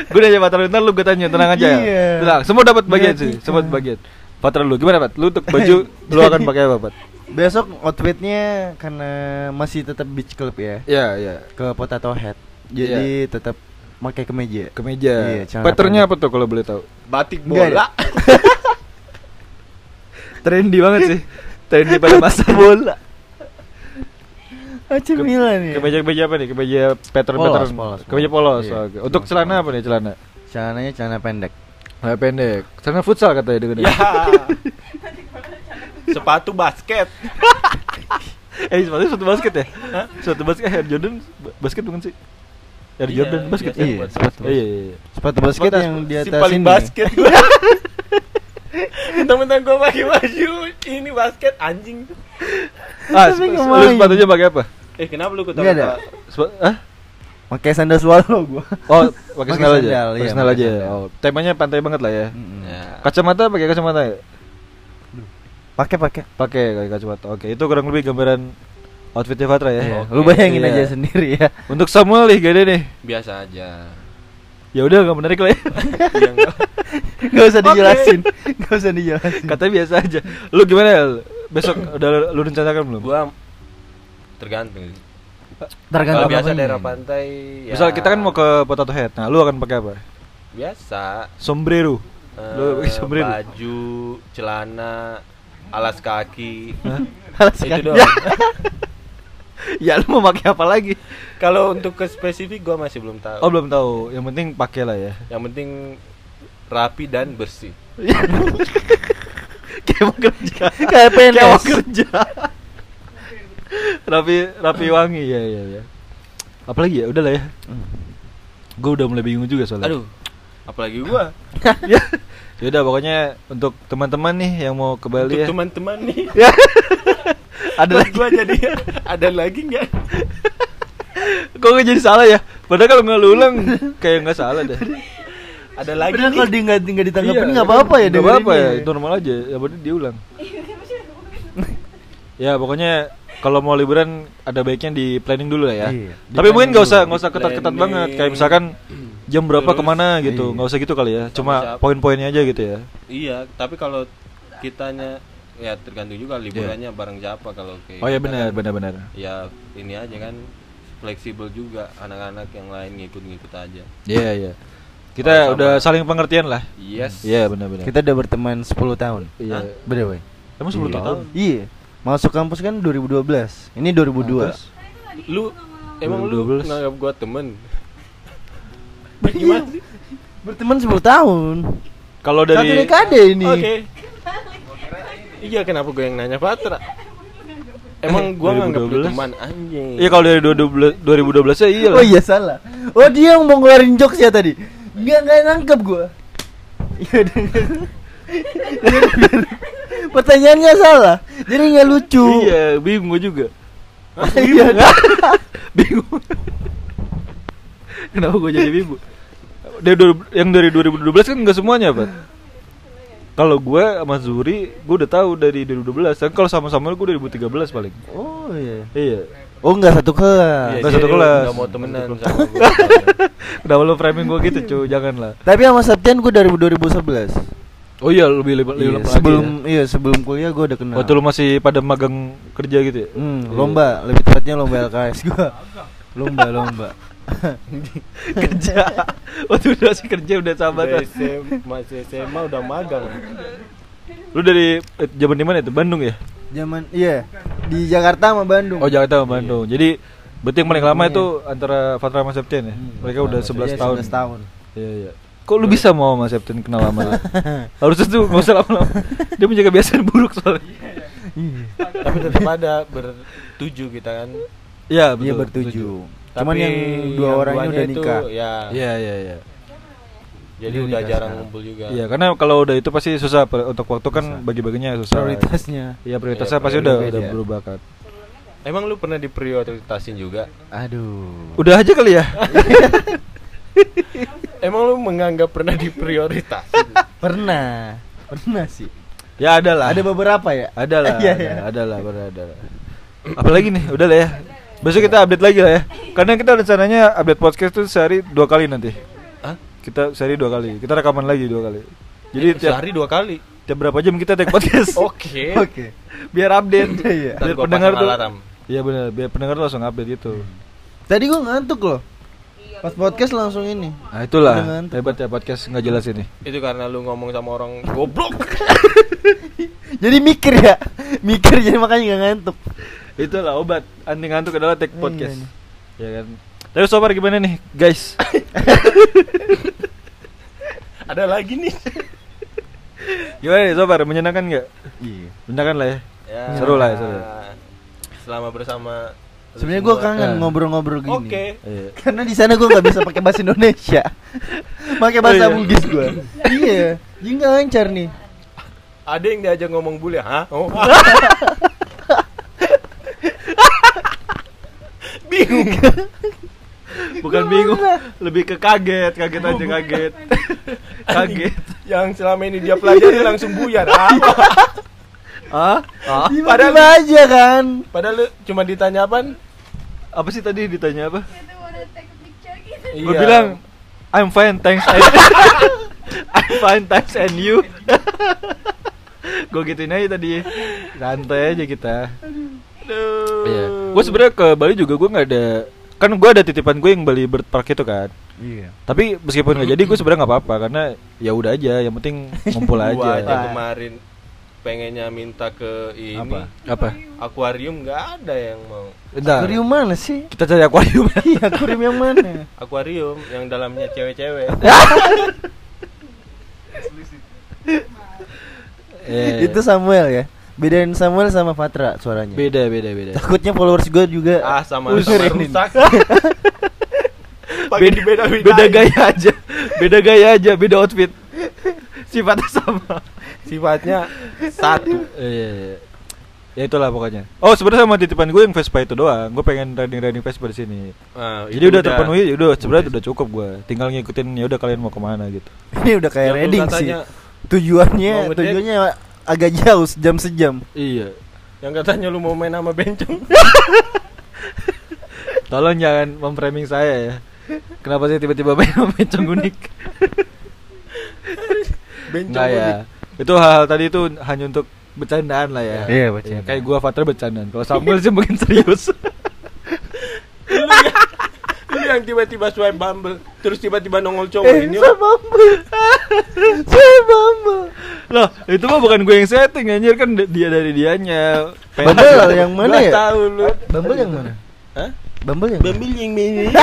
Gue udah Patra lu, ntar lu gue tanya, tenang aja Iya. Tenang, semua dapat bagian Jadi sih, kan. semua dapat bagian Patra lu, gimana Pat? Lu untuk baju, lu akan pakai apa Pat? Besok outfitnya karena masih tetap beach club ya. Iya, iya, Ke potato head. Jadi tetap pakai kemeja. Iya, kemeja celana Patternnya apa pendek. tuh kalau boleh tahu? batik Nggak ada. bola. Trendy banget sih Trendy pada masa bola. AC Ke- Milan ya. Kemeja-kemeja apa nih? Kemeja pattern Polos, pattern polos, polos. Kemeja polos, Iya. oke. Untuk celana apa nih celana? Celananya celana pendek. Nah, pendek Celana futsal katanya dengan ya. Sepatu basket. Eh, sepatu sepatu basket ya? Sepatu basket, Air Jordan ba- basket bukan sih? Air Iya, Jordan basket biasa ya? iya, buat sepatu. Iya, iya, iya. Sepatu basket Batas- yang di si atas paling ini. basket temen-temen gue pakai baju ini basket anjing Ah, Tapi sep- kemarin. lu sepatunya pakai apa? eh kenapa lu Nggak ada. ketawa Sepa- ah? Pakai sandal swallow gua. Oh, pakai Pakai sandal aja. sandal, Pakai iya, sandal pakai aja. sandal. Hmm. Oh, temanya pantai banget lah ya. Mm-mm. Nah. Kacamata pakai kacamata ya? Pakai pakai. Pakai pakai kacamata. Oke, itu kurang lebih gambaran outfitnya Fatra ya. Iya, Oke. Lu bayangin Iya. aja sendiri ya. Untuk Samuel nih gede nih. biasa aja Ya udah nggak menarik lah ya. yang Gak usah dijelasin. Gak usah dijelasin. Katanya biasa aja. Lu gimana? El? Besok udah lu- lu rencanakan belum? gue tergantung Tergantung kalau biasa apanya. daerah pantai ya Misal kita kan mau ke Potato Head. Nah, lu akan pakai apa? biasa Sombrero. eh, Lu pakai sombrero. baju celana alas kaki Hah? Alas itu kaki. doang ya lu mau pakai apa lagi? kalau untuk ke spesifik gue masih belum tahu Oh, belum tahu. Yang penting pakai lah ya. yang penting rapi dan bersih Kayak mau kerja. Kayak PNS. Kayak mau kerja. rapi rapi Ah. wangi ya ya ya. Apalagi ya udah lah ya. Gue udah mulai bingung juga soalnya. Hmm. aduh apalagi gue ya. Ya udah pokoknya untuk teman-teman nih yang mau ke Bali untuk ya. teman-teman nih Ada lagi. gua jadi ada lagi nggak Kok gua jadi salah ya? Padahal kalau nggak lu ulang kayak nggak salah deh. ada lagi Padahal kalau nih. dia nggak nggak ditanggapin Iya, nggak apa-apa ya. nggak apa-apa ya, dengerin ya. normal aja. Ya berarti dia ulang. ya pokoknya kalau mau liburan ada baiknya di planning dulu lah ya. Iya. Tapi mungkin Di planning nggak usah dulu. nggak usah ketat-ketat Planning. banget. Kayak misalkan jam berapa Terus, kemana gitu, iya. nggak usah gitu kali ya. Cuma siapa. poin-poinnya aja gitu ya. iya tapi kalau kitanya ya tergantung juga liburannya bareng siapa kalau kayak Iya. Oh ya kita benar, kan, benar-benar. ya ini aja kan fleksibel juga anak-anak yang lain ngikut-ngikut aja Iya iya. Kita Sama-sama. udah saling pengertian lah. yes Iya benar-benar. Kita udah berteman 10 tahun. Iya. By the way. Emang 10 Iya. tahun. Iya. Masuk kampus kan 2012. Ini 2002. Kampus? Lu emang lu 2012. nganggap gua temen? Gimana sih? Iya. Berteman 10 tahun. Kalau Satu kan? dari dekade ini. Oke. Iya kenapa gue yang nanya Patra? Emang gua nganggap lu 2012? teman anjing. Eh, Iya kalau dari 2012 2012 ya iya lah. Oh iya salah. Oh dia yang mau ngeluarin jokes ya tadi. Enggak enggak nangkep gua. Iya udah. Pertanyaannya salah. Jadi nggak lucu. Iya, Oh, bingung gua juga. Iya. bingung. Kenapa gua jadi bingung? Dari du- yang dari 2012 kan enggak semuanya, Pak. Kalau gua sama Zuri, gua udah tahu dari 2012. Dan Kan kalau sama Samuel gua 2013 paling. Oh iya. Iya. Oh enggak satu kelas. Nggak Iya, satu jadi lu kelas. nggak iya, mau temenan Satu sama gue. Kenapa lo framing gua gitu, cuy? Janganlah. Tapi sama Septian gua dari 2011. Oh iya, Nah. lebih lebih, Iya, sebelum iya sebelum kuliah gua udah kenal. ya? Waktu lu masih pada magang kerja gitu ya? Hmm, lomba, lebih tepatnya lomba LKS gua. Lomba, lomba. kerja. Waktu udah masih kerja udah sahabat. Udah SM masih SMA udah magang. Lu dari eh, zaman di mana itu? Bandung ya? Zaman iya di Jakarta sama Bandung. Oh, Jakarta sama Bandung. Jadi berarti yang paling lama itu antara Fatra Iya. sama Septian ya? Mereka udah Iya, 11 tahun. 11 tahun. Iya, iya. Kok lu bisa mau sama Septian kenal lama? lu? Harusnya tuh nggak usah lama-lama. Dia punya kebiasaan buruk soalnya. Tapi tetap ada bertujuh kita kan. Iya, betul. Iya bertujuh. Tapi Cuman yang dua orangnya duanya udah itu, nikah. Ya. Iya, iya, iya. Jadi udah Udah nikah jarang sekarang. ngumpul juga. Iya, karena kalau udah itu pasti susah per- untuk waktu kan bagi-baginya susah. Prioritasnya Iya, prioritasnya Iya, pasti udah prioritas udah beda. berubah kan. Emang lu pernah diprioritasin juga? aduh. Udah aja kali ya. Emang lu menganggap pernah diprioritasin? Pernah. Pernah sih. ya ada lah. Ada beberapa ya? Ada lah, Iya, ada, iya. ada lah, benar, ada lah. Apalagi nih, udah lah ya. Besok kita update lagi lah ya. Karena kita rencananya update podcast tuh sehari dua kali nanti. Hah? Kita sehari dua kali. Kita rekaman lagi dua kali. Jadi tiap, Eh, Sehari dua kali. tiap berapa jam kita take podcast? Oke. Oke. biar update. Iya. Biar Ntar gua pendengar pasang tuh. alarm. Iya benar, biar pendengar tuh langsung update gitu. Tadi gua ngantuk loh. Pas podcast langsung ini. Nah, itulah Pendengar tuh. hebat ya podcast nggak jelas ini. Itu karena lu ngomong sama orang goblok. Jadi mikir ya. Mikir jadi makanya nggak ngantuk. Itulah obat anti ngantuk adalah take Iya, podcast. iya. Ya kan. Tapi sobar gimana nih, guys? Ada lagi nih. Gimana nih sobar? Menyenangkan nggak? Iya. Menyenangkan lah ya. Ya. Seru lah ya, seru. Selama bersama lu Sebenarnya gua semua. kangen Eh. ngobrol-ngobrol gini. Oke. Iya. Karena di sana gue nggak bisa pakai bahasa Indonesia, pakai Oh, bahasa iya. Bugis gue. iya, jadi nggak lancar nih. Ada yang diajak ngomong bule, hah? Oh. Bingung. Bukan bingung, lebih ke kaget, kaget aja kaget. kaget. Yang selama ini dia pelajari langsung buyar. Apa? Ah? Ah? Padahal aja kan. Padahal lu cuma ditanya apaan? Apa sih tadi ditanya apa? they want to take a picture. Iya. Gua bilang I'm fine, thanks and I'm fine, thanks and you. Gue gituin aja tadi. Santai aja kita. Aduh. Iya. Gue sebenarnya ke Bali juga gue nggak ada kan gue ada titipan gue yang Bali Bird Park itu kan. Iya. Tapi meskipun nggak jadi gue sebenarnya nggak apa-apa karena ya udah aja yang penting ngumpul Gua aja. aja. kemarin pengennya minta ke ini. Apa? Apa? Akuarium nggak ada yang mau. Bentar. Akuarium mana sih? Kita cari akuarium. Iya, akuarium yang mana? Akuarium yang dalamnya cewek-cewek. Iya, Eh, Itu Samuel ya. Bedain Samuel sama Fatra suaranya. beda beda beda. Takutnya followers gue juga. ah sama user sama ini. rusak. beda beda, gaya aja. Beda gaya aja, beda outfit. Sifatnya sama. Sifatnya satu. Eh, Iya iya. Ya itulah pokoknya. Oh, sebenarnya sama titipan gue yang Vespa itu doang. Gue pengen riding-riding Vespa di sini. Ah, Jadi itu udah, terpenuhi, ya udah sebenarnya udah cukup gue. Tinggal ngikutin ya udah kalian mau kemana gitu. Ini udah Yang kayak lu reading sih. katanya- Mau Tujuannya, ngedate? tujuannya agak jauh sejam sejam. Iya. Yang katanya lu mau main sama bencong. Tolong jangan memframing saya ya. Kenapa saya tiba-tiba main sama bencong unik? Nggak ya. Itu hal-hal tadi itu hanya untuk bercandaan lah ya. Iya, bercanda. Kayak gua Fatra bercandaan. Kalau Samuel sih mungkin serius. Lu yang tiba-tiba swipe Bumble, terus tiba-tiba nongol cowok Eh, Oh, ini. saya bamba, saya bamba. Loh, itu mah bukan gue yang setting anjir kan dia dari dianya. Bandel yang mana ya? Tahu lu. Bumble yang mana? Hah? Bumble yang mana? Bambil yang ini.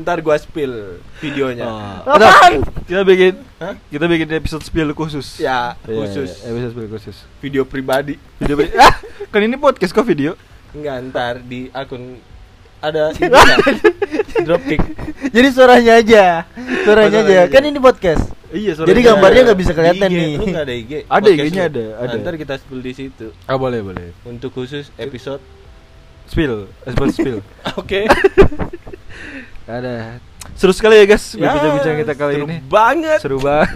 Ntar gua spill videonya. Oh. Apaan? Kita bikin Hah? kita bikin episode spill khusus. Ya, Iya, khusus iya, episode spill khusus. video pribadi. Video beri- ah, kan ini podcast kok video. Enggak, ntar di akun ada ininya. dropkick. Jadi suaranya aja. Oh, Suaranya aja. suaranya aja. Kan ini podcast. Iya, suaranya. Jadi gambarnya nggak bisa kelihatan Di IG. nih. Lu nggak ada IG? Ada Podcast IG-nya lu. ada, ada. Nah, Ntar kita spill di situ Ah, boleh, boleh. untuk khusus episode. Spill, episode spill. Oke. Ada. Seru sekali ya, guys, Ya, bincang-bincang kita kali seru ini. Banget. Seru banget.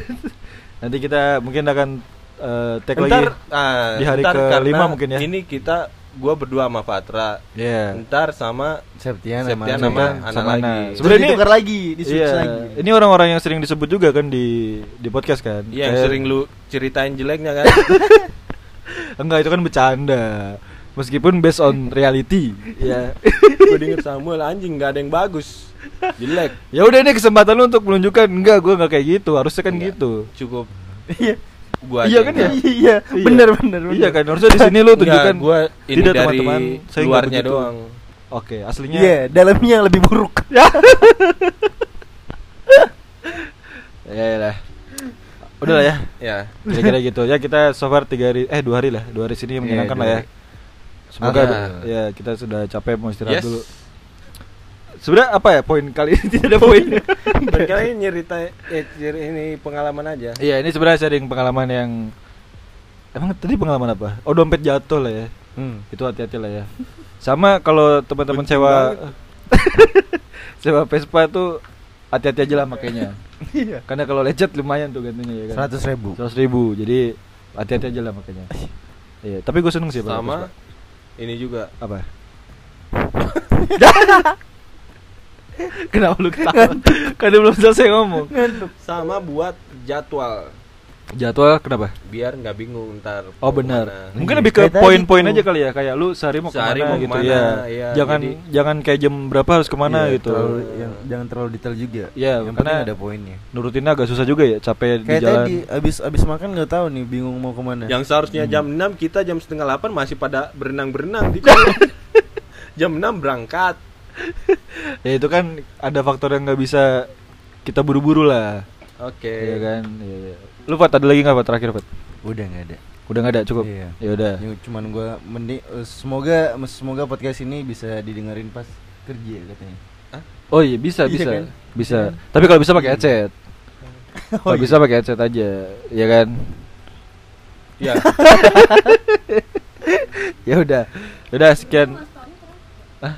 Nanti kita mungkin akan eh, tag lagi. Ntar, ah, Di hari ntar kelima karena mungkin ya. Ini kita gua berdua sama Fatra. Iya. Ntar sama Septian Septian sama- sama sama Ana. anak lagi. Sebenarnya Sebenernya ini- ditukar lagi, di switch Iya. lagi. Ini orang-orang yang sering disebut juga kan di di podcast kan? Iya, yang Kayak- sering lu ceritain jeleknya kan. Enggak, itu kan bercanda. Meskipun based on reality. Ya. Gue denger Samuel anjing nggak ada yang bagus. Jelek. ya udah ini kesempatan lu untuk menunjukkan enggak gua enggak kayak gitu. Harusnya kan gitu. Cukup Iya. gua Iya aja kan ya? yang nggak- Iya, Iya. bener bener. Iya bener. kan harusnya di sini lu Nggak, tunjukkan gua ini tidak dari teman-teman, saya nggak luarnya begitu. doang. Oke, aslinya Iya, dalamnya lebih buruk. ya lah. Udah lah ya. Ya. Kira-kira gitu. Ya kita so far 3 hari eh 2 hari lah. 2 hari sini yang Iya, menyenangkan dua lah ya. hari. Semoga Ah. ya kita sudah capek mau istirahat Yes. dulu. Sebenarnya apa ya poin kali ini tidak ada poinnya. Dan kalian nyerita eh, cer- ini pengalaman aja. Iya, ini sebenarnya sharing pengalaman yang emang tadi pengalaman apa? Oh, dompet jatuh lah ya. Hmm. Itu hati-hati lah ya. Sama kalau teman-teman Betul sewa sewa Vespa tuh hati-hati aja lah makanya. Iya. Karena kalau lecet lumayan tuh gantinya ya kan. Seratus ribu. 100 ribu. Jadi hati-hati aja lah makanya. Iya, tapi gue seneng sih pakai Sama Vespa. ini juga. apa? Kenapa lu ketawa? Karena belum selesai ngomong. Sama buat jadwal Jadwal kenapa? biar nggak bingung ntar. Oh mau benar. kemana. Mungkin Iya. lebih ke Kayak tadi poin-poin tuh. aja kali ya, kayak lu sehari mau Sehari kemana mau gitu kemana, ya. iya, jangan jadi- jangan kayak jam berapa harus kemana Iya, gitu. terlalu- yang- jangan terlalu detail juga. Iya, yang karena- penting ada poinnya. Nurutinnya agak susah juga ya, capek di Kayak jalan. tadi abis abis makan nggak tahu nih bingung mau kemana. Yang seharusnya jam 6 kita jam setengah 8 masih pada berenang-berenang di kolam. jam 6 berangkat. Ya itu kan ada faktor yang nggak bisa kita buru-buru lah. Oke. Iya kan. Iya, iya. Lu Fat ada lagi nggak Fat terakhir Fat? udah nggak ada. Udah nggak ada cukup. Iya. Ya udah. Ya, cuman gua mending eh, semoga semoga podcast ini bisa didengerin pas kerja katanya. Oh iya bisa Iya Oh bisa kan? bisa. Tapi kalau bisa pakai headset. Kalau iya. bisa pakai headset aja, ya kan? Ya. Ya udah. Ya Udah sekian. Hah?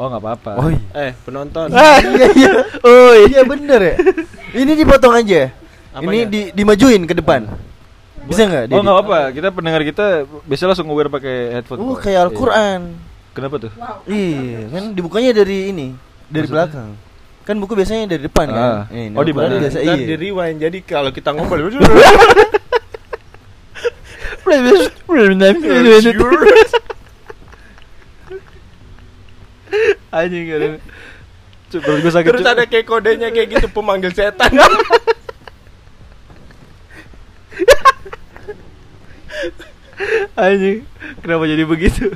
Oh nggak apa-apa. Oh Eh, iya. penonton. Ah, iya iya. Oh iya bener ya. Ini dipotong aja. Ini Apanya? di, dimajuin ke depan. Bisa nggak? ya? Oh Didi? nggak apa-apa. Kita pendengar kita biasanya langsung wear pakai headphone. Oh, kok. kayak Iya. Al-Qur'an. Kenapa tuh? Iya, kan dibukanya dari ini, dari Maksudnya? belakang. Kan buku biasanya dari depan kan. Ah. Ini, Oh, di Al-Qur'an mana? Biasa, Ntar iya. di rewind. Jadi kalau kita ngobrol Anjing gak ada. Cuk, perut gue sakit. terus Cuk. ada kayak kodenya kayak gitu pemanggil setan. Anjing. Kenapa jadi begitu?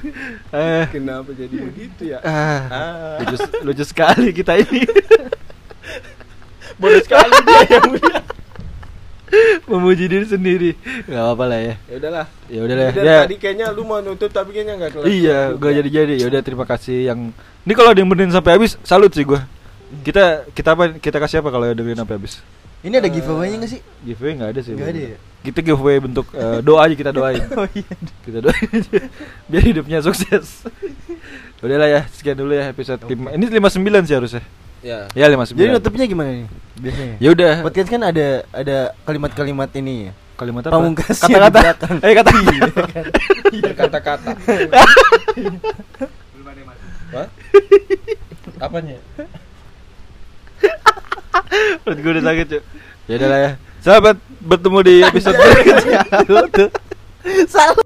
Eh. Kenapa jadi begitu ya? Ah. Ah, Lucu, lucu sekali kita ini bodoh sekali dia yang mulia. memuji diri sendiri. Gak apa-apa lah ya. Ya udahlah. Ya udah lah. Dari Ya. Tadi kayaknya lu mau nutup tapi kayaknya enggak kelar. Iya, gak jadi-jadi. Ya udah terima kasih yang ini kalau ada yang benerin sampai habis, salut sih gua. Hmm. Kita kita apa kita kasih apa kalau dengerin sampai habis? Ini ada giveaway-nya nggak sih? Giveaway nggak ada sih. Nggak ada ya? Oh iya. Kita giveaway bentuk eh, doa aja kita doain. Kita doain aja. biar hidupnya sukses. Udahlah ya, sekian dulu ya episode lima Ini 59 sih harusnya. Ya. Ya 59. Jadi nutupnya gimana nih? Biasanya. Ya udah. Podcast kan ada ada kalimat-kalimat ini ya. Kalimat apa? Pamungkas Kata-kata. Eh kata. Iya. Berkata-kata. Hah? Apanya? Perut gue udah sakit, cuy. Ya udah lah ya. Sahabat, bertemu di episode berikutnya. Tuh. Salah.